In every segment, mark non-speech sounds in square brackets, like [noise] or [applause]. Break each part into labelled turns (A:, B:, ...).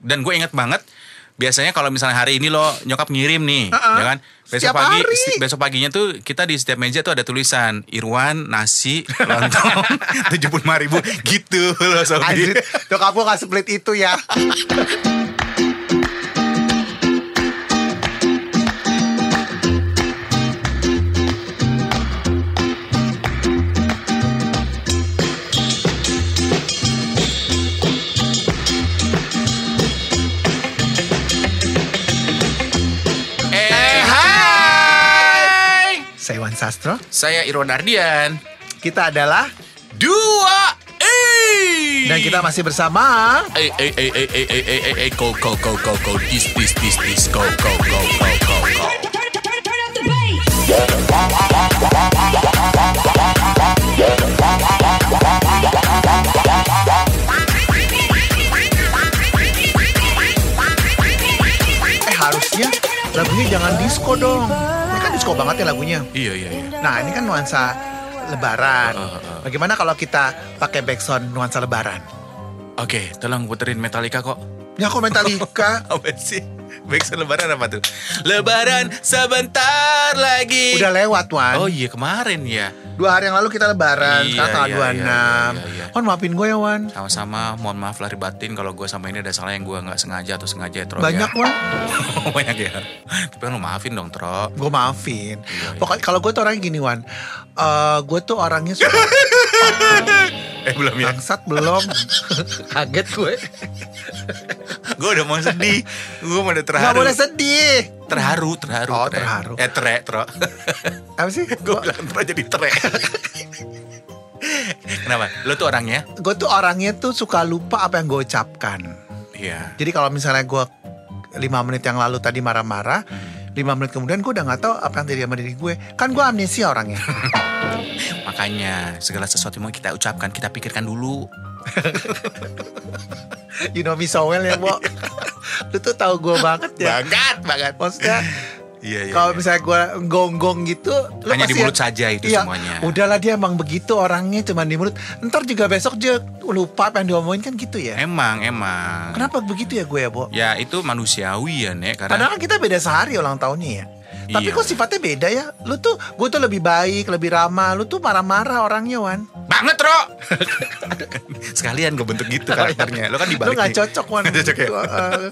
A: dan gue inget banget biasanya kalau misalnya hari ini lo nyokap ngirim nih,
B: Uh-uh.
A: ya kan? Besok
B: Setiap
A: pagi,
B: hari.
A: si- besok paginya tuh kita di setiap meja tuh ada tulisan Irwan nasi
B: [laughs]
A: lontong tujuh ribu gitu loh
B: Anjir,
A: Sobi.
B: nyokap gue gak split itu ya.
A: Eh, hai,
B: Saya Wan Sastro,
A: saya Irwan Ardian.
B: kita adalah
A: Dua, eh.
B: dan kita masih bersama
A: Hey, hey, hey, hey, hey, hey, hey, hey, hey, eh, go, go, go, go, go, this, this, this, this, go, go, go, go, go, go.
C: turn, turn, turn, turn up the bass.
B: eh harusnya lagunya jangan disco dong. Ini kan disco banget ya lagunya.
A: Iya, iya, iya.
B: Nah, ini kan nuansa lebaran. Bagaimana kalau kita pakai backsound nuansa lebaran?
A: Oke, tolong puterin Metallica kok.
B: Ya kok Metallica?
A: Apa sih? Backsound lebaran apa tuh? Lebaran sebentar lagi.
B: Udah lewat, Wan.
A: Oh iya, kemarin ya.
B: Dua hari yang lalu kita lebaran,
A: Iya,
B: sekarang tanggal
A: iya,
B: 26.
A: iya, iya, iya.
B: Wan, maafin gue ya, Wan.
A: Sama-sama, mohon maaf lahir batin kalau gue sama ini ada salah yang gue nggak sengaja atau sengaja ya, Tro.
B: Banyak,
A: ya.
B: Wan.
A: [laughs] Banyak ya. Tapi kan lo maafin dong, Tro.
B: Gue
A: Iya,
B: maafin.
A: iya.
B: Pokoknya kalau gue tuh orangnya gini, Wan. Eh, gue tuh orangnya
A: [laughs]
B: suka
A: Iya. Eh, belum ya?
B: bangsat belum. Kaget gue.
A: gue udah mau sedih. Gue mau udah terharu.
B: Gak boleh sedih.
A: Terharu, terharu.
B: Oh,
A: Tre.
B: terharu.
A: Eh, tre,
B: [laughs]
A: Tro.
B: Apa sih?
A: gue bilang Tro jadi tre. [laughs] Kenapa? Lo tuh orangnya?
B: Gue tuh orangnya tuh suka lupa apa yang gue ucapkan.
A: Iya.
B: Jadi kalau misalnya gue 5 menit yang lalu tadi marah-marah, 5 menit kemudian gue udah nggak tahu apa yang terjadi sama diri gue. Kan gue amnesia orangnya. [laughs]
A: Makanya segala sesuatu yang mau kita ucapkan, kita pikirkan dulu.
B: You know me so well ya,
A: [laughs]
B: Bo. Lu tuh tahu gue banget ya.
A: Banget, banget. [laughs]
B: Maksudnya
A: Iya, iya.
B: kalau misalnya gue gonggong gitu, lu
A: Hanya di
B: pasti-
A: mulut saja itu
B: Iya,
A: semuanya.
B: udahlah dia emang begitu orangnya cuman di mulut. Ntar juga besok dia lupa apa yang diomongin kan gitu ya.
A: Emang, emang.
B: Kenapa begitu ya gue ya, Bo?
A: Ya itu manusiawi ya, Nek. Karena
B: Padahal kan kita beda sehari ulang tahunnya ya. Tapi
A: Iya.
B: kok sifatnya beda ya? Lu tuh, gue tuh lebih baik, lebih ramah. Lu tuh marah-marah orangnya, Wan.
A: banget, Ro. [laughs] Sekalian gue bentuk [laughs] gitu karakternya. Lo kan dibalik
B: Lu gak
A: nih.
B: cocok, Wan.
A: [laughs] Nggak cocok ya?
B: Heeh.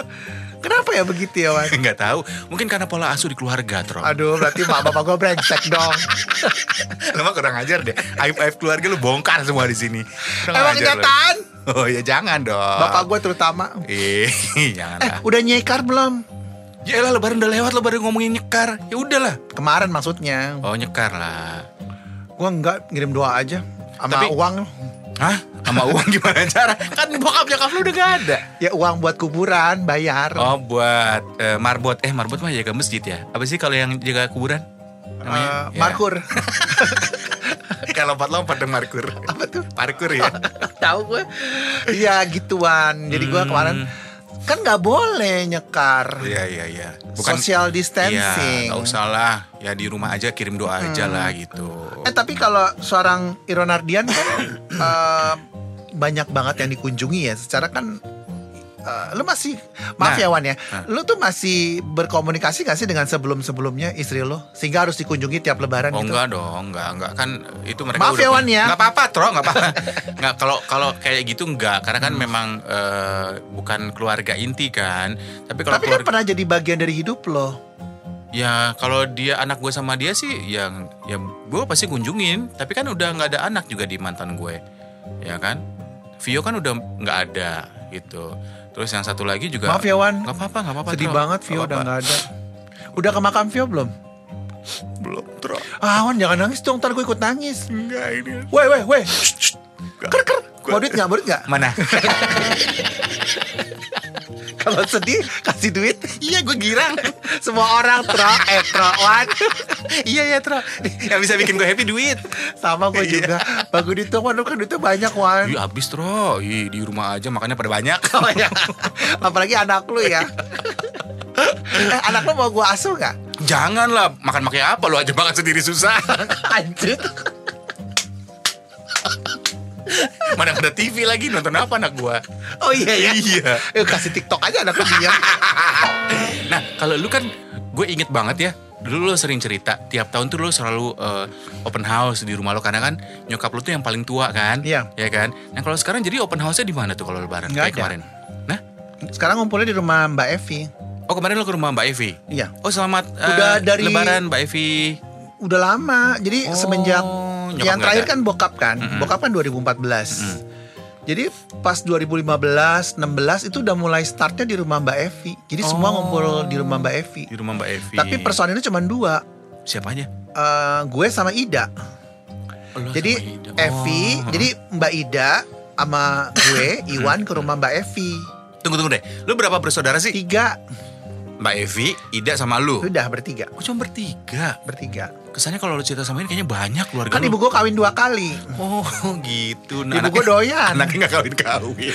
B: Kenapa ya begitu ya, Wan?
A: Nggak tahu. Mungkin karena pola asuh di keluarga, Tro.
B: Aduh, berarti mak bapak gue brengsek
A: [laughs]
B: dong.
A: Lo mah kurang ajar deh. Aib-aib keluarga lu bongkar semua di sini. Kurang
B: Emang
A: ajar lo.
B: kenyataan?
A: Oh ya jangan dong.
B: Bapak gue terutama.
A: [laughs] Ih, jangan
B: Eh,
A: lah.
B: udah nyekar belum?
A: Yaelah ya lebaran udah lewat lo baru ngomongin nyekar. Ya udahlah.
B: Kemarin maksudnya.
A: Oh nyekar lah.
B: Gue enggak ngirim doa aja. Sama
A: Tapi-
B: uang.
A: Hah? Sama uang gimana cara? Kan bokap nyokap lu udah gak ada.
B: Ya uang buat kuburan, bayar.
A: Oh buat eh, marbot. Eh marbot mah jaga masjid ya. Apa sih kalau yang jaga kuburan?
B: Eh,
A: Ya. [laughs]
B: Markur.
A: Kalau lompat-lompat dong markur. Apa tuh? Parkur ya.
B: Tahu gue. Iya gituan. Jadi
A: Hmm.
B: gue kemarin kan nggak boleh nyekar.
A: Iya iya iya.
B: Social
A: Iya,
B: distancing. Hmm.
A: nggak usah lah. Ya di rumah aja kirim doa aja lah gitu.
B: Eh tapi kalau seorang Iron Ardian
A: [laughs]
B: kan eh, banyak banget yang dikunjungi ya. Secara kan eh, lu masih maaf
A: Nah.
B: ya Wan ya.
A: Nah.
B: Lu tuh masih berkomunikasi gak sih dengan sebelum-sebelumnya istri lu sehingga harus dikunjungi tiap lebaran
A: Oh
B: gitu.
A: enggak dong, enggak enggak kan itu mereka
B: Maaf
A: udah
B: ya, Wan, ya.
A: Enggak apa-apa, Tro, enggak apa-apa. [laughs] Enggak kalau kalau kayak gitu enggak karena
B: Hmm.
A: kan memang eh, bukan keluarga inti kan. Tapi kalau
B: Tapi kan
A: keluarga
B: pernah jadi bagian dari hidup lo.
A: Ya kalau dia anak gue sama dia sih yang ya gue pasti kunjungin. Tapi kan udah nggak ada anak juga di mantan gue, ya kan? Vio kan udah nggak ada gitu. Terus yang satu lagi juga.
B: Maaf ya, Wan.
A: Nggak apa-apa, nggak apa-apa.
B: Sedih
A: Tro.
B: banget Vio udah
A: apa-apa.
B: nggak ada. Udah ke makam Vio belum?
A: Belum Tro.
B: Ah Wan jangan nangis dong, ntar gue ikut nangis.
A: Enggak ini.
B: Weh weh weh.
A: Ker ker.
B: Mau duit nggak? Mau duit nggak?
A: Mana?
B: [laughs]
A: [laughs]
B: Kalau sedih kasih duit. [laughs] iya gue girang. Semua orang tro, eh tro, [laughs] Wan.
A: iya ya Tro. yang bisa bikin gue happy duit.
B: Sama gue juga. Bagus duit dong, Wan. Lu kan duitnya banyak, Wan. [laughs] Oh,
A: Ih habis Tro. Ih, di rumah aja makannya pada banyak.
B: iya. Apalagi anak lu [laughs] ya. eh, anak lu mau gue asuh [laughs] gak?
A: Jangan lah makan pakai apa lo aja makan sendiri susah.
B: Anjir.
A: [laughs] Mana ada TV lagi nonton apa anak gua?
B: Oh iya ya.
A: Iya.
B: Eh, kasih TikTok aja anak lu [laughs] diam.
A: Nah, kalau lu kan gue inget banget ya. Dulu lu sering cerita, tiap tahun tuh lu selalu eh, open house di rumah lu karena kan nyokap lu tuh yang paling tua kan?
B: Iya.
A: Ya kan? Nah, kalau sekarang jadi open house-nya di mana tuh kalau lebaran
B: Nggak
A: kayak
B: ada.
A: kemarin? Nah,
B: Sekarang ngumpulnya di rumah Mbak Evi.
A: oh kemarin lu ke rumah Mbak Evi.
B: Iya.
A: Oh, selamat eh,
B: Udah dari-
A: lebaran Mbak Evi.
B: Udah lama. Jadi
A: Oh,
B: semenjak
A: nyokap
B: yang
A: nggak
B: terakhir
A: ada.
B: kan bokap kan.
A: Mm-mm.
B: Bokap kan 2014. Jadi pas 2015, 16 itu udah mulai startnya di rumah Mbak Evi. Jadi semua
A: Oh.
B: ngumpul di rumah Mbak Evi.
A: Di rumah Mbak Evi.
B: Tapi personilnya cuma dua.
A: siapa aja?
B: Eh, gue sama Ida.
A: Oh, lu
B: Jadi
A: sama Ida.
B: Evi,
A: Oh.
B: jadi Mbak Ida sama
A: [laughs]
B: gue Iwan ke rumah Mbak Evi.
A: tunggu tunggu deh. Lu berapa bersaudara sih?
B: Tiga,
A: Mbak Evi, Ida sama lu.
B: udah bertiga,
A: Oh, cuma bertiga.
B: bertiga.
A: Kesannya kalau lu cerita sama ini kayaknya banyak keluarga
B: Kan
A: lu.
B: ibu gue kawin dua kali.
A: Oh [laughs] gitu.
B: Ibu gua doyan.
A: Anaknya gak
B: [laughs]
A: kawin-kawin.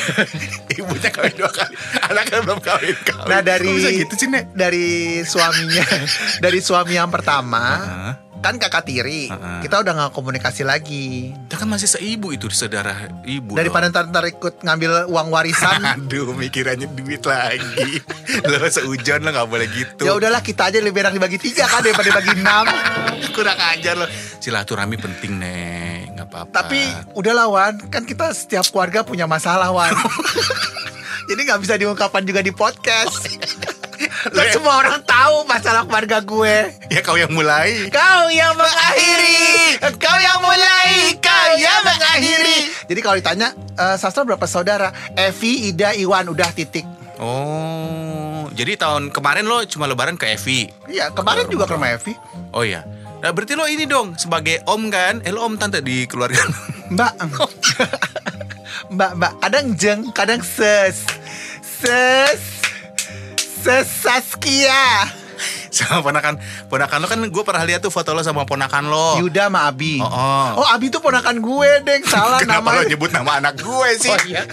A: Ibunya kawin dua kali. Anaknya belum kawin-kawin.
B: Nah dari
A: Kok bisa gitu sih, Nek?
B: dari
A: [laughs]
B: suaminya, dari suami yang pertama
A: Heeh.
B: kan kakak tiri,
A: Heeh.
B: kita udah nggak komunikasi lagi.
A: Dia kan masih seibu itu, saudara ibu.
B: Daripada ntar, ntar ikut ngambil uang warisan,
A: dong. [laughs] Aduh, mikirannya duit
B: [laughs]
A: lagi. lo seujon lo gak boleh gitu.
B: ya udahlah kita aja lebih enak dibagi tiga kan daripada dibagi
A: [laughs]
B: enam.
A: Kurang ajar lo. Silaturahmi penting, Nek. Gak apa-apa.
B: Tapi
A: Nah.
B: udahlah Wan, kan kita setiap keluarga punya masalah
A: [laughs]
B: Wan. Jadi nggak bisa diungkapkan juga di
A: Oh,
B: podcast.
A: iya.
B: Kan semua orang tahu masalah keluarga gue.
A: Ya kau yang mulai.
B: Kau yang mengakhiri, kau yang mulai, kau yang mengakhiri. Jadi kalau ditanya, "Eh, Sastra berapa saudara? Evi, Ida, Iwan, udah titik.
A: Oh, jadi tahun kemarin lo cuma lebaran ke Evi.
B: Iya, kemarin juga ke rumah Evi.
A: Oh iya. Nah, berarti lo ini dong sebagai om kan? Eh, lo om tante di keluarga lo.
B: Mbak, [laughs] mbak, mbak, kadang jeng, kadang ses, ses, ses Saskia.
A: sama ponakan ponakan lo kan gue pernah lihat tuh foto lo sama ponakan lo
B: Yuda sama Abi.
A: Oh, oh.
B: Abi tuh ponakan gue, Deng. Salah
A: kenapa lo
B: namanya.
A: nyebut nama anak gue sih
B: Oh, iya.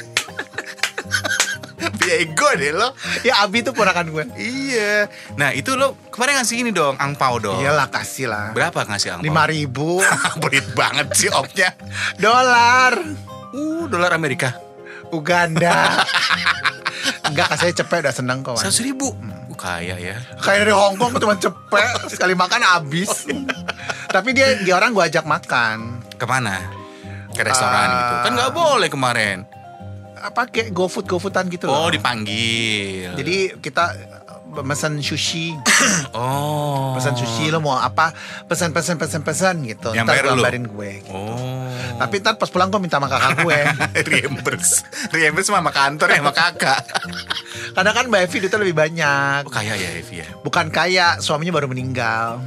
A: bego deh lo
B: Ya Abi tuh ponakan gue.
A: iya nah itu lo kemarin ngasih ini dong angpau dong
B: Iyalah kasih lah.
A: Oh. berapa ngasih angpau
B: Iya.
A: [laughs]
B: Lima ribu [laughs]
A: Pelit banget sih opnya
B: dolar
A: uh dolar Amerika
B: Uganda. Enggak, kasih cepet udah seneng kok. Wan.
A: seratus ribu
B: Hmm.
A: Uh, kaya ya
B: Kayak dari Hong Kong cuma cepet sekali makan habis. Tapi dia dia orang gue ajak makan.
A: kemana ke restoran
B: Ah.
A: gitu kan nggak boleh kemarin
B: Apa kayak GoFood GoFoodan gitu
A: oh
B: loh.
A: dipanggil
B: Jadi kita eh, pesan sushi,
A: oh
B: pesan sushi lo mau apa? Pesan pesan pesan pesan gitu.
A: Yang
B: Ntar
A: bayar
B: gue
A: lu?
B: ambarin gue.
A: oh
B: Tapi ntar pas pulang gue minta sama kakak gue
A: [laughs] reimburse reimburse sama kantor ya sama kakak
B: Karena kan Mbak Evi duitnya lebih banyak
A: Oh, kaya ya Evi ya
B: Bukan kaya, suaminya baru meninggal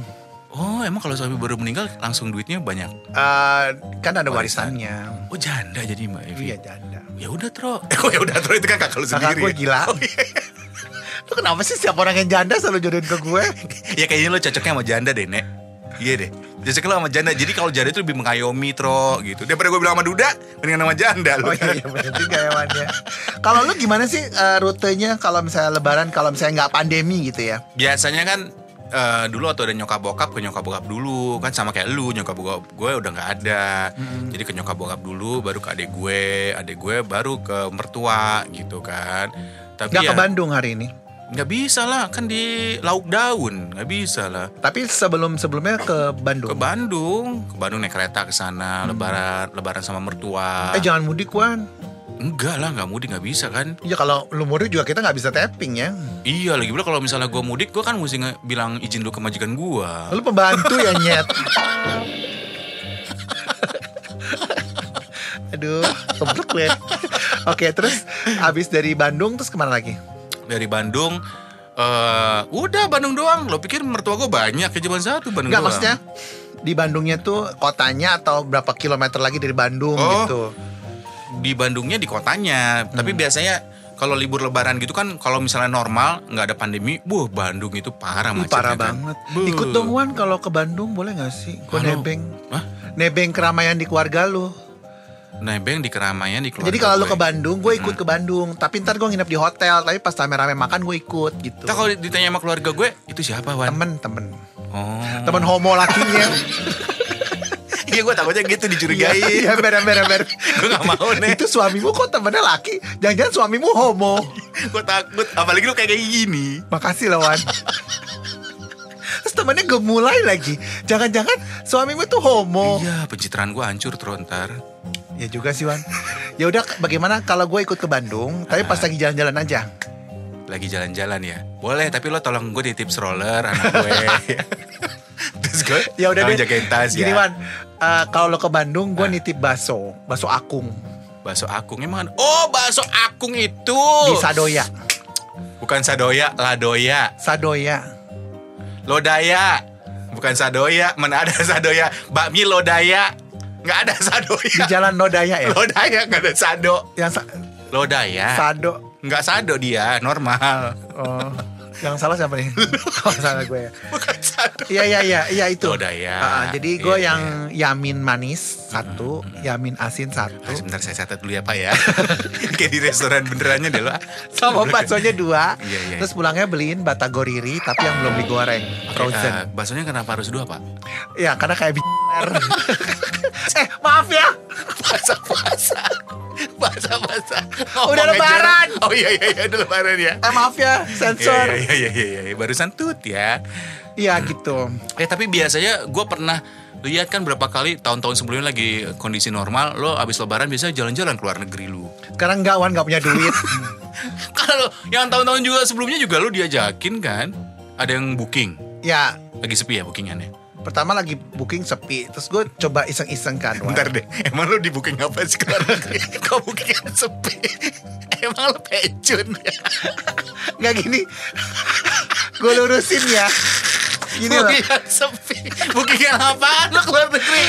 A: Oh, emang kalau suami baru meninggal langsung duitnya banyak.
B: Eh, Kan ada
A: Warisan.
B: warisannya
A: Oh, janda jadi Mbak Evi.
B: Iya janda
A: Ya udah, Tro. [laughs] Eh, kok ya udah, Tro itu kan kakak lu
B: Kakak
A: sendiri.
B: gue
A: ya?
B: gila Lu kenapa sih setiap orang yang janda selalu jodohin ke gue?
A: ya kayaknya lo cocoknya sama janda deh, Nek. Iya deh. Cocok lo sama janda. Jadi kalau janda itu lebih mengayomi, Tro, gitu. Daripada gue bilang sama duda, mendingan sama janda lo.
B: Oh iya, iya bener juga ya Wan ya. Kalau lu gimana sih eh, rutenya kalau misalnya lebaran Kalau misalnya nggak pandemi gitu ya
A: Biasanya kan eh, dulu atau ada nyokap bokap ke nyokap bokap dulu kan sama kayak lu nyokap bokap gue udah nggak ada jadi ke nyokap bokap dulu baru ke adik gue adik gue baru ke mertua gitu kan tapi
B: Nggak
A: ya,
B: ke Bandung hari ini
A: Nggak bisa lah, kan di lauk daun. Nggak bisa lah.
B: Tapi sebelum-sebelumnya ke
A: Ke
B: Bandung
A: Bandung, ke Bandung naik kereta ke sana, lebaran, lebaran sama mertua.
B: Hmm. Eh jangan mudik Wan
A: Enggak lah, nggak mudik nggak bisa kan?
B: Ya kalau lu mudik juga kita nggak bisa tapping ya
A: Iya, lagi pula kalau misalnya gue mudik, gue kan mesti nge- bilang izin dulu ke majikan gue.
B: Lu pembantu ya nyet [laughs] Aduh, kebelet gue Oke, terus abis dari Bandung terus kemana lagi?
A: Dari Bandung, eh udah Bandung doang. Lo pikir mertua gue banyak ya cuma satu Bandung
B: Enggak,
A: doang.
B: maksudnya di Bandungnya tuh kotanya atau berapa kilometer lagi dari Bandung
A: Oh.
B: gitu
A: di Bandungnya di kotanya.
B: Hmm.
A: Tapi biasanya kalau libur lebaran gitu kan kalau misalnya normal nggak ada pandemi, buh Bandung itu parah
B: Ih,
A: macetnya
B: parah
A: kan.
B: banget
A: Buh.
B: Ikut dong Wan kalau ke Bandung boleh gak sih? Gue
A: Halo?
B: nebeng
A: Hah?
B: Nebeng keramaian di keluarga lu
A: nebeng di keramaian di keluarga
B: Jadi kalau lu
A: gue.
B: ke Bandung, gue
A: Hmm.
B: ikut ke Bandung Tapi ntar gue nginep di hotel Tapi pas rame-rame makan gue ikut gitu
A: Ntar Hmm. kalau ditanya sama keluarga gue, itu siapa Wan?
B: Temen, temen
A: Oh. [laughs]
B: Temen homo lakinya
D: Iya gue takutnya gitu dicurigai.
B: Iya, ember, ember,
A: [laughs]
B: ember.
A: Gue gak mau nih.
B: Itu suamimu kok temennya laki? Jangan-jangan suamimu homo.
D: gue takut. Apalagi lu kayak kayak gini.
B: Makasih lawan. Terus temennya gemulai lagi. Jangan-jangan suamimu tuh homo.
A: Iya, pencitraan gue hancur terus ntar.
B: Ya juga sih Wan. Ya udah, bagaimana kalau gue ikut ke Bandung, tapi pas lagi jalan-jalan aja.
A: Lagi jalan-jalan ya. Boleh, tapi lo tolong gue di tips roller anak gue.
D: [laughs]
A: Terus gue
B: Ya udah
A: tolong
B: deh.
A: jagain tas
B: Gini
A: ya. Ah.
B: Wan, eh, kalau lo ke Bandung, gue nitip baso, baso akung
A: Bakso akung emang. Oh, bakso akung itu.
B: di Sadoya.
A: Bukan sadoya, ladoya.
B: Sadoya.
A: Lodaya. Bukan Sadoya, mana ada Sadoya. Bakmi Lodaya. Nggak ada
B: Di
A: Sadoya.
B: jalan Nodaya
A: [laughs] Eh.
B: ya.
A: Lodaya nggak ada Sado.
B: Yang sa-
A: Lodaya.
B: Sado.
A: Nggak Sado dia,
B: [laughs]
A: normal.
B: Oh, yang salah siapa
A: [laughs]
B: nih? Kalau salah gue ya.
A: Bukan Sado.
B: [laughs] Iya iya iya iya itu.
A: Lodaya.
B: Ah, jadi gue
A: Iya, Hmm,
B: yang yamin manis satu, yamin asin
A: Ah,
B: satu,
A: Sebentar saya catat dulu ya Pak ya. [laughs] Kayak di restoran benerannya deh lo. ah.
B: [laughs] sama baksonya dua.
A: Iya, iya.
B: Terus pulangnya beliin batagoriri tapi yang belum digoreng,
A: Oke,
B: frozen.
A: eh, baksonya kenapa harus dua Pak?
B: Ya karena kayak b****. [laughs] eh maaf ya,
A: Puasa-puasa. Puasa-puasa.
B: Udah
A: Ngomongnya
B: lebaran.
A: jorok. Oh iya iya iya udah lebaran ya.
B: eh maaf ya,
A: Iya
B: sensor.
A: iya iya iya iya barusan tut ya.
B: Iya gitu.
A: Eh tapi biasanya gue pernah lihat kan berapa kali tahun-tahun sebelumnya lagi kondisi normal lo abis lebaran biasanya jalan-jalan keluar negeri lu.
B: Sekarang enggak Wan nggak punya duit. [laughs]
A: [laughs] Kalau yang tahun-tahun juga sebelumnya juga lo diajakin kan ada yang booking
B: ya
A: lagi sepi ya bookingannya.
B: pertama lagi booking sepi, terus gue coba iseng-iseng kan. Wan.
A: Bentar deh, emang lo di booking apa sih keluar [laughs] negeri? Kau booking yang sepi? [laughs] Emang lo pecun ya?
B: Nggak gini, [laughs] gue lurusin
A: [laughs]
B: ya. Gini loh.
A: booking yang sepi, booking yang apaan lo keluar negeri?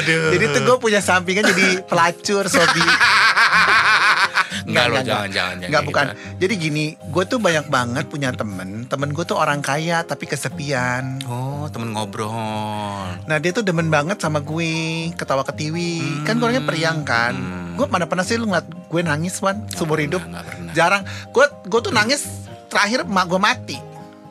A: Aduh.
B: Jadi tuh gue punya sampingan jadi pelacur sobi.
A: [laughs] Enggak lo jangan-jangan.
B: Enggak bukan.
A: gitu.
B: Jadi gini, gue tuh banyak banget punya temen. Temen gue tuh orang kaya tapi kesepian.
A: Oh temen ngobrol.
B: Nah dia tuh demen banget sama gue, ketawa ketiwi. Kan gue orangnya periang kan.
A: Hmm.
B: Gue mana pernah sih lu ngeliat gue nangis Wan seumur
A: pernah,
B: hidup?
A: nggak pernah.
B: Jarang. Gue gue tuh nangis terakhir mak gue mati.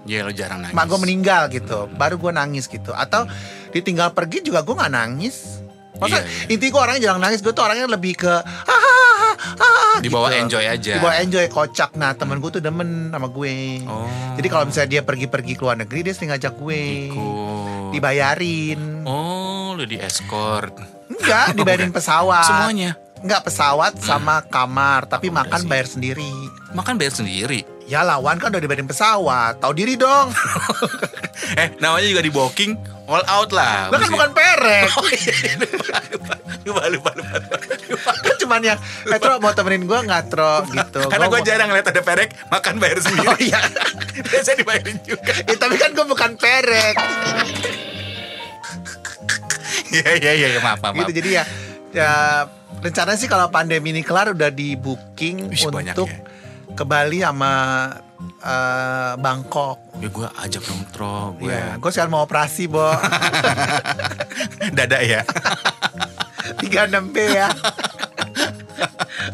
A: Iya lo jarang nangis.
B: Mak gue meninggal gitu, baru gue nangis gitu. Atau ditinggal pergi juga gue nggak nangis. Masa
A: Iya, iya.
B: inti gue orangnya jarang nangis, gue tuh orangnya lebih ke "Ah, ah, ah, ah,"
A: Di bawah
B: gitu.
A: enjoy aja.
B: Di bawah enjoy kocak. Nah temen gue tuh demen sama gue.
A: Oh.
B: Jadi kalau misalnya dia pergi-pergi ke luar negeri dia sering ngajak gue.
A: Ikut.
B: Dibayarin.
A: Oh, lu di escort. [laughs]
B: Enggak, dibayarin
A: Bukan.
B: pesawat.
A: Semuanya. Hmm. Oh, iya
B: Enggak pesawat sama kamar, tapi
A: Akomodasi.
B: makan bayar sendiri.
A: Makan bayar sendiri. [laughs]
B: Ya lawan kan udah dibayarin pesawat, tahu diri dong.
A: Eh, namanya juga di booking all out lah.
B: Lo kan
A: Mesti-
B: bukan perek.
A: [laughs] Oh iya, iya, lupa, lupa, lupa, lupa, lupa, lupa.
B: kan cuman yang eh Tro mau temenin gue nggak Tro gitu
A: Karena gue
B: mau-
A: jarang ngeliat ada perek makan bayar sendiri.
B: Oh,
A: [laughs]
B: iya.
A: Biasanya dibayarin juga.
B: Eh, tapi kan gue bukan perek
A: Iya iya iya, iya, maaf maaf.
B: gitu jadi ya ya rencananya sih kalau pandemi ini kelar udah di booking
A: Wih, banyak
B: untuk
A: ya.
B: ke Bali sama eh, Bangkok
A: Ya gue ajak kan. dong tro, gue.
B: ya gue sekarang mau operasi bo
A: [laughs] Dada ya.
B: 36 B
A: [laughs]
B: ya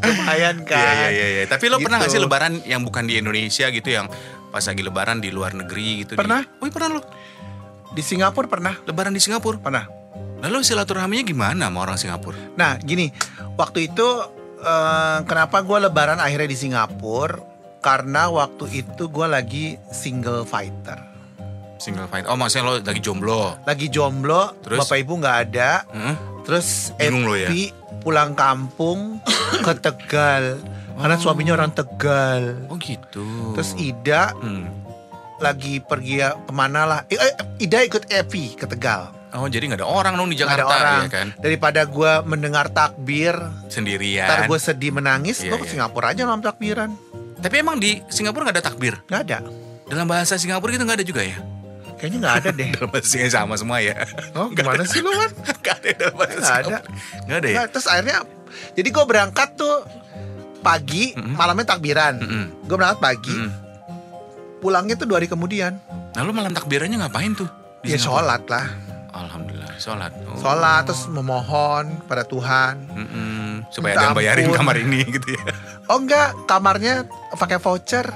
B: lumayan kan
A: Iya iya iya. iya. Tapi lo pernah gak sih
B: Gitu.
A: lebaran yang bukan di Indonesia gitu yang pas lagi lebaran di luar negeri gitu? di-
B: Pernah.
A: Wih pernah lo.
B: di Singapura pernah
A: Lebaran di Singapura.
B: pernah
A: Lalu silaturahminya gimana sama orang Singapura?
B: Nah, gini, waktu itu eh, kenapa gue lebaran akhirnya di Singapura? Karena waktu itu gue lagi single fighter,
A: Single fight. Oh maksudnya lo lagi jomblo.
B: lagi jomblo,
A: Terus?
B: bapak ibu nggak ada,
A: Heeh.
B: terus
A: Bingung lo ya?
B: FP pulang
A: [coughs]
B: kampung ke Tegal, karena suaminya orang Tegal.
A: Oh gitu.
B: Terus Ida
A: Hmm.
B: lagi pergi ya kemana lah? Eh, eh, Ida ikut Epi ke Tegal.
A: Oh jadi nggak ada orang dong di
B: Nggak
A: Jakarta
B: ada orang.
A: ya kan?
B: Daripada gue mendengar takbir,
A: Sendirian.
B: ntar gue sedih menangis,
A: Kan? Iya,
B: gue ke
A: iya.
B: Singapura aja nonton takbiran.
A: Tapi emang di Singapura nggak ada takbir.
B: Nggak ada.
A: Dalam bahasa Singapura gitu nggak ada juga ya?
B: Kayaknya nggak ada deh.
A: Dalam bahasa Singapura sama semua ya.
B: [laughs] Oh, gimana sih lu kan?
A: [laughs] Nggak ada dalam bahasa
B: [laughs] Nggak ada.
A: Singapura. Nggak ada ya.
B: Nah, terus akhirnya, jadi gue berangkat tuh pagi, malamnya takbiran.
A: Mm-mm.
B: Gue berangkat pagi,
A: Mm.
B: pulangnya tuh dua hari kemudian.
A: Nah lo malam takbirannya ngapain tuh? di
B: Ya
A: Singapura?
B: sholat lah,
A: Alhamdulillah sholat. Oh.
B: sholat terus memohon pada Tuhan.
A: Mm-mm. Supaya
B: Minta
A: ada yang bayarin
B: ampun.
A: kamar ini gitu
B: [laughs]
A: ya.
B: Oh enggak, kamarnya pakai
A: [laughs]
B: voucher.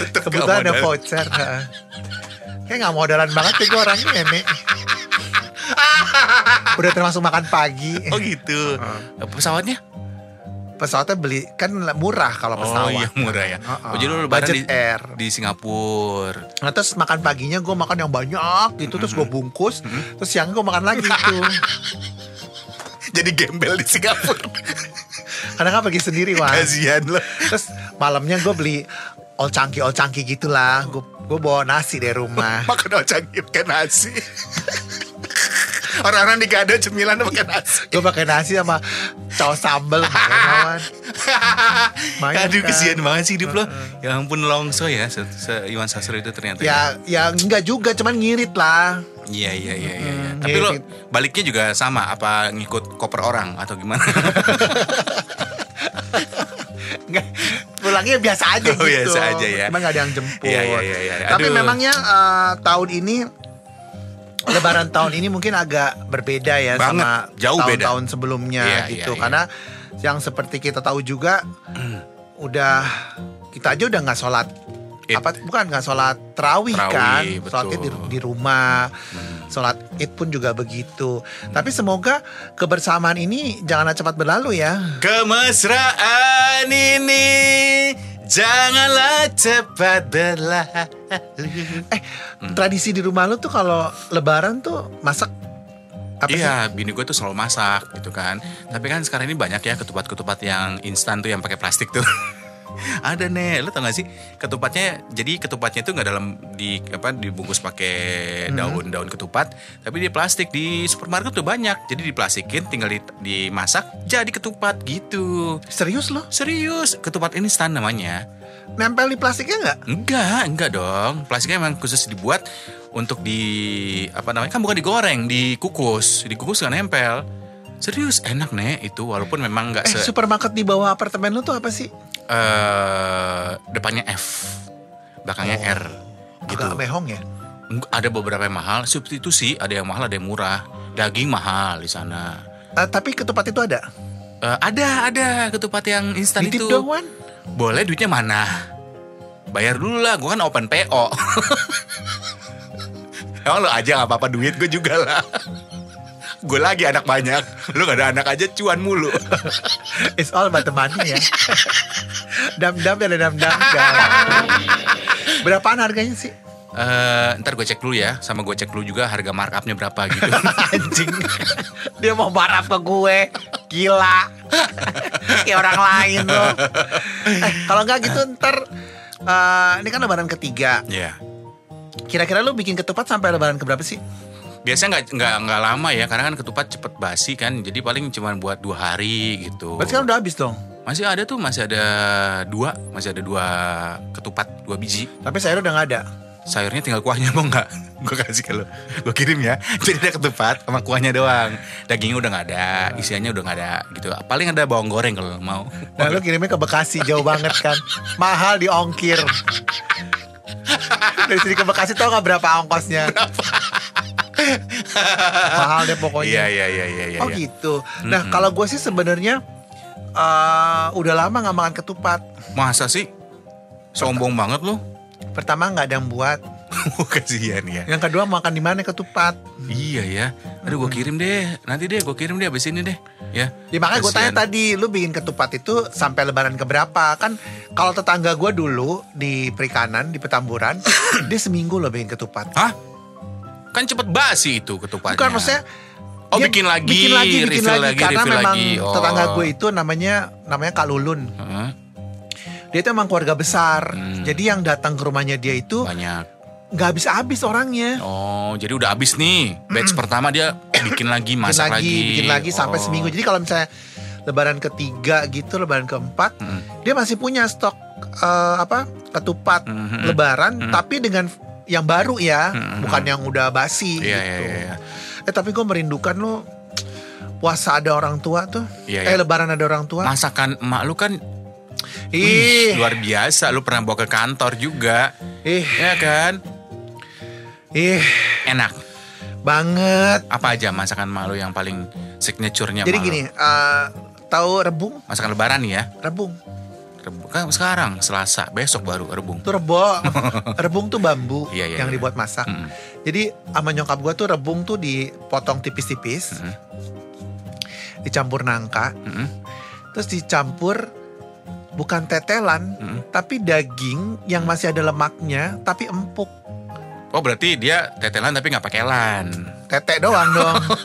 A: Tetep
B: Kebetulan ada
A: nggak modal.
B: voucher.
A: [laughs]
B: Heeh. Kayak nggak modalan banget ya gue orangnya nenek. udah termasuk makan pagi.
A: Oh gitu. Eh, Pesawatnya?
B: Pesawatnya beli kan murah kalau pesawat.
A: Oh iya murah ya.
B: Heeh.
A: Oh, jadi lu lebaran di,
B: Budget air.
A: di
B: [laughs]
A: Singapura.
B: Nah terus makan paginya gue makan yang banyak gitu terus gue bungkus terus siang gue makan lagi gitu. tuh.
D: Jadi gembel di Singapura.
A: [laughs]
B: Kadang kan pergi sendiri mas.
D: Kasihan lo.
B: Terus malamnya gue beli all cangki all cangki gitulah. Gue gue bawa nasi dari rumah.
D: Makan ocang pakai nasi. Orang-orang di gado cemilan pakai nasi.
B: Gue pakai nasi sama cao sambel main lawan. Main,
A: Aduh
B: kan? Uh-huh.
A: kesian banget sih hidup lo. Ya ampun longso ya se, se- Iwan Sastro itu ternyata.
B: Ya ya enggak juga cuman ngirit lah.
A: Iya iya iya iya. iya.
B: Mm,
A: Tapi lo
B: ngikut.
A: baliknya juga sama apa ngikut koper orang atau gimana? [laughs]
B: Nggak, pulangnya biasa aja
A: Oh,
B: gitu.
A: biasa aja ya.
B: Cuman nggak ada yang jemput.
A: Iya, iya, iya, iya.
B: Tapi
A: Aduh.
B: memangnya eh, tahun ini Lebaran tahun ini mungkin agak berbeda ya
A: Banget,
B: sama
A: jauh beda.
B: tahun-tahun sebelumnya
A: Iya, iya, Hmm.
B: gitu.
A: iya.
B: Karena yang seperti kita tahu juga udah kita aja udah nggak sholat
A: Id.
B: apa bukan nggak sholat terawih
A: Terawih,
B: kan
A: betul. Hmm.
B: sholat id di, di rumah sholat id pun juga begitu tapi semoga kebersamaan ini janganlah cepat berlalu ya
A: Kemesraan ini janganlah cepat berlalu.
B: Eh,
A: Hmm.
B: tradisi di rumah lu tuh kalau lebaran tuh masak apa sih?
A: Iya, bini gue tuh selalu masak gitu kan. Tapi kan sekarang ini banyak ya ketupat-ketupat yang instan tuh yang pakai plastik tuh. [laughs] Ada nih, lo tau gak sih ketupatnya? Jadi ketupatnya itu nggak dalam di apa dibungkus pakai
B: Hmm.
A: daun-daun ketupat, tapi di plastik di supermarket tuh banyak. Jadi diplastikin, tinggal di- dimasak, jadi ketupat gitu.
B: Serius loh?
A: Serius, ketupat instan namanya.
B: Nempel di plastiknya nggak?
A: Enggak, enggak dong. Plastiknya memang khusus dibuat untuk di apa namanya? Kan bukan digoreng, dikukus. Dikukus nggak nempel. Serius enak nek itu walaupun memang nggak
B: Eh,
A: se
B: supermarket di bawah apartemen lu tuh apa sih?
A: eh, depannya F, belakangnya
B: Oh.
A: R. Gitu.
B: Agak mehong ya?
A: Enggak, Ada beberapa yang mahal, substitusi ada yang mahal, ada yang murah. Daging mahal di sana.
B: Eh, tapi ketupat itu ada?
A: Eh, ada, ada ketupat yang instan
B: Ditip
A: itu.
B: dong, Wan.
A: Boleh duitnya mana? Bayar dulu lah, gue kan open PO.
D: [laughs] Emang lo aja gak apa-apa duit gue juga lah. Gue lagi anak banyak. Lo gak ada anak aja cuan mulu.
B: It's all about the money ya. dam-dam dan dam-dam. dam. Berapaan harganya sih?
A: [laughs] Eh, ntar gue cek dulu ya, sama gue cek dulu juga harga markupnya
D: [laughs]
A: berapa gitu.
B: Anjing. [laughs] Dia mau marah ke gue.
A: [laughs]
B: Gila. Kayak orang lain loh. Eh, kalau nggak
A: [laughs]
B: gitu ntar... eh, ini kan lebaran ketiga.
D: Iya.
A: Ya,
B: Kira-kira lu bikin ketupat sampai lebaran keberapa sih?
A: biasanya nggak nggak nggak lama ya, karena kan ketupat cepet basi kan, jadi paling cuma buat dua hari gitu.
B: Berarti kan udah habis dong.
A: Masih ada tuh, masih ada dua, masih ada dua ketupat, dua biji.
B: Tapi sayur udah nggak ada.
A: Sayurnya tinggal kuahnya mau nggak? [laughs] Gue kasih ke lo, gue kirim ya. [laughs] Jadi ada ketupat sama kuahnya doang. Dagingnya udah nggak ada, isiannya udah nggak ada gitu. Paling ada bawang goreng kalau lo
B: [laughs]
A: mau.
B: Nah lu kirimnya ke Bekasi jauh banget kan. Mahal diongkir. Dari sini ke Bekasi tau nggak berapa ongkosnya? Mahal deh
A: Iya
B: pokoknya.
A: iya iya iya. iya,
B: oh
A: iya.
B: gitu. Nah kalau gue sih sebenarnya eh, udah lama nggak makan ketupat.
A: Masa sih? Sombong banget lo. [laughs]
B: Pertama nggak ada yang buat.
A: Oh, kasihan ya.
B: Yang kedua makan di mana ketupat?
A: Iya ya. Aduh gue kirim deh. Nanti deh gue kirim deh abis ini deh. Ya.
B: Ya makanya gue
A: Kasihan.
B: tanya tadi, lu bikin ketupat itu sampai lebaran keberapa? Kan kalau tetangga gue dulu di Perikanan, di
A: [coughs]
B: Petamburan, dia seminggu loh bikin ketupat.
A: Hah? Kan cepet basi itu ketupatnya.
B: Bukan maksudnya
A: Oh,
B: dia
A: bikin lagi,
B: bikin lagi, bikin
A: refill
B: lagi,
A: lagi,
B: karena
A: refill
B: memang
A: lagi. Oh.
B: tetangga gue itu namanya namanya Kak Lulun.
A: Heeh,
B: Dia itu emang keluarga besar,
A: Hmm.
B: jadi yang datang ke rumahnya dia itu
A: banyak.
B: nggak habis-habis orangnya.
A: Oh jadi udah abis nih. Batch pertama dia bikin lagi,
B: Bikin
A: masak
B: lagi,
A: lagi.
B: bikin lagi sampai
A: Oh.
B: seminggu. Jadi kalau misalnya Lebaran ketiga gitu, Lebaran keempat,
A: Mm-mm.
B: dia masih punya stok eh, apa ketupat
A: Mhm.
B: Lebaran,
A: Mhm.
B: tapi dengan yang baru ya,
A: Mhm.
B: bukan yang udah basi
A: Iya iya
B: gitu.
A: iya. iya.
B: Eh tapi gue merindukan lo puasa ada orang tua tuh,
A: Iya,
B: eh
A: iya.
B: Lebaran ada orang tua.
A: Masakan emak lu kan
B: Ih,
A: wih, luar biasa. Lu pernah bawa ke kantor juga.
B: ih,
A: Ya kan?
B: ih,
A: Enak.
B: banget.
A: Apa aja masakan emak lu yang paling signaturenya
B: Jadi
A: emak lu?
B: gini, eh tahu rebung,
A: Masakan lebaran nih ya.
B: rebung.
A: Rebu- Kan sekarang Selasa, besok baru rebung.
B: Itu
A: [laughs]
B: rebung. rebung tuh bambu
A: Iya, iya,
B: yang
A: iya.
B: dibuat masak.
A: Mm-mm.
B: Jadi sama nyokap gue tuh rebung tuh dipotong tipis-tipis.
A: Mm-mm.
B: Dicampur nangka.
A: Mm-mm.
B: Terus dicampur bukan tetelan.
A: Mm-mm.
B: Tapi daging yang masih ada lemaknya. Tapi empuk.
A: Oh berarti dia tetelan tapi nggak pakai lan.
B: Tete
A: [laughs]
B: doang dong.
A: Oh,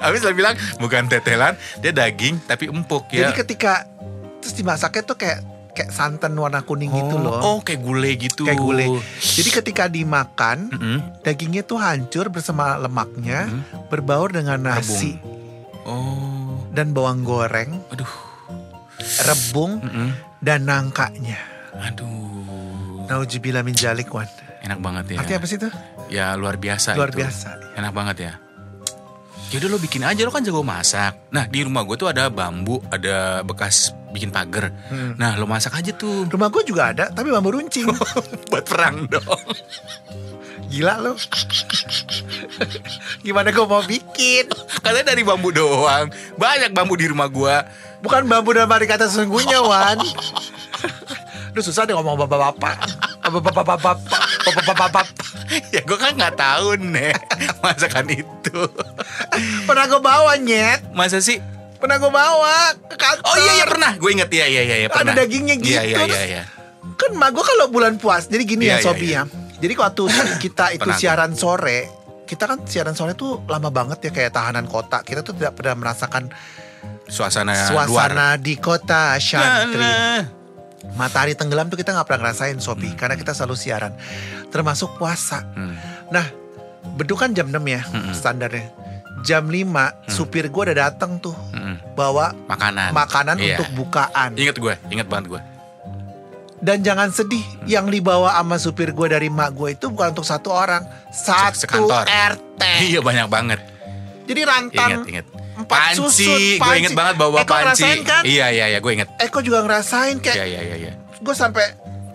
A: Habis dia bilang bukan tetelan, dia daging tapi empuk ya.
B: Jadi ketika terus dimasaknya tuh kayak kayak santan warna kuning
A: Oh,
B: gitu loh.
A: Oh kayak gulai gitu.
B: Kayak gulai. Jadi ketika dimakan,
A: Mm-mm.
B: dagingnya tuh hancur bersama lemaknya,
A: Mm-mm.
B: berbaur dengan nasi
A: Oh,
B: dan bawang goreng,
A: aduh.
B: rebung
A: Mm-mm.
B: dan nangkanya.
A: Aduh,
B: Naujubillah min zalik wan.
A: enak banget ya.
B: Artinya apa sih itu?
A: Ya luar biasa.
B: Luar
A: itu.
B: biasa.
A: Enak banget ya. Yaudah lo bikin aja lo kan jago masak. Nah di rumah gue tuh ada bambu, ada bekas bikin pagar.
B: Hmm.
A: Nah lo masak aja tuh.
B: [laughs] Rumah gue juga ada, tapi bambu runcing.
A: Oh. Buat perang dong.
B: Gila lo. Gimana gue mau bikin?
A: Katanya dari bambu doang. Banyak bambu di rumah gue.
B: Bukan bambu dalam arti kata sesungguhnya, Wan. Aduh susah deh ngomong bapak-bapak. Bapak-bapak-bapak. Bapak-bapak-bapak.
A: ya gue kan nggak tahu nih [laughs] masakan itu.
B: Pernah gue bawa, Nyet.
A: Masa sih?
B: Pernah gue bawa ke kantor.
A: Oh iya iya pernah. Gue inget iya iya iya iya,
B: Ada
A: pernah.
B: dagingnya gitu,
A: Iya iya iya.
B: terus-
A: iya.
B: Kan mak gue kalau bulan puas. Jadi gini
A: Iya,
B: ya,
A: iya,
B: Sobi
A: iya.
B: ya. Jadi
A: [coughs]
B: waktu kita itu
A: Pernah gua.
B: siaran sore, kita kan siaran sore tuh lama banget ya kayak tahanan kota. Kita tuh tidak pernah merasakan
A: Suasana, Ya, luar.
B: suasana di
A: Nah,
B: kota Shantri.
A: nah.
B: Matahari tenggelam tuh kita nggak pernah ngerasain Sobi karena kita selalu siaran. Termasuk puasa.
A: Hmm.
B: Nah, bedu kan jam 6 ya standarnya. Jam 5 supir gue udah datang tuh
A: Mm-mm.
B: bawa
A: Hmm. Makanan.
B: makanan
A: Iya.
B: untuk bukaan.
A: Ingat gue, ingat banget gue.
B: Dan jangan sedih,
A: Hmm.
B: yang dibawa sama supir gue dari mak gue itu bukan untuk satu orang, satu
A: sekantor.
B: RT.
A: Iya banyak banget.
B: Jadi
A: Ingat
B: rantan
A: ingat.
B: Eh. empat susut,
A: Panci, gue
B: panci.
A: inget banget bawa
B: Eko
A: panci.
B: ngerasain kan?
A: Iya iya iya, gue inget.
B: Eko juga ngerasain
A: Iya
B: kayak
A: iya iya. iya.
B: gue sampai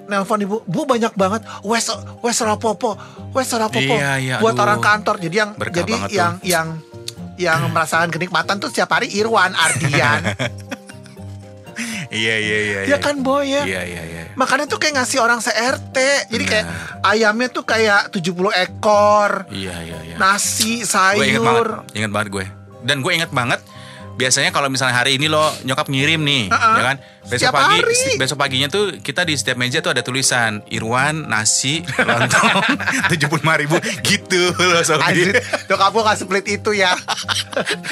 B: nelpon ibu, bu banyak banget wes wes rapopo, wes rapopo
A: Iya, iya,
B: buat
A: aduh.
B: orang kantor. Jadi yang
A: Berkah
B: jadi
A: banget tuh. Hmm.
B: yang yang yang merasakan kenikmatan tuh setiap hari Irwan, Ardian,
A: [laughs] Iya iya iya.
B: ya kan boy ya.
A: Iya iya iya.
B: Makannya tuh kayak ngasih orang se-RT. Jadi kayak
A: Benar.
B: ayamnya tuh kayak 70 ekor.
A: Iya iya iya.
B: Nah, Nasi,
A: gue inget banget,
B: sayur.
A: inget banget gue. Dan gue inget banget. Biasanya kalau misalnya hari ini lo nyokap ngirim nih,
B: Uh-uh.
A: ya kan? Besok
B: Setiap
A: pagi,
B: hari.
A: sti- besok paginya tuh kita di setiap meja tuh ada tulisan Irwan nasi
B: [laughs]
A: lontong [laughs] tujuh ribu gitu loh Sobi.
B: Anjir, nyokap gue gak split itu ya.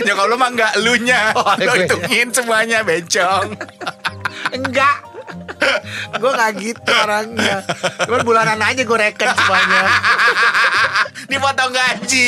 A: Nyokap lo mah nggak lunya,
B: Oh, ada
A: lo
B: gue ya.
A: hitungin semuanya bencong.
B: [laughs] Enggak. gue gak gitu orangnya. Cuman bulanan aja gue reken [laughs] semuanya.
A: Dipotong gaji.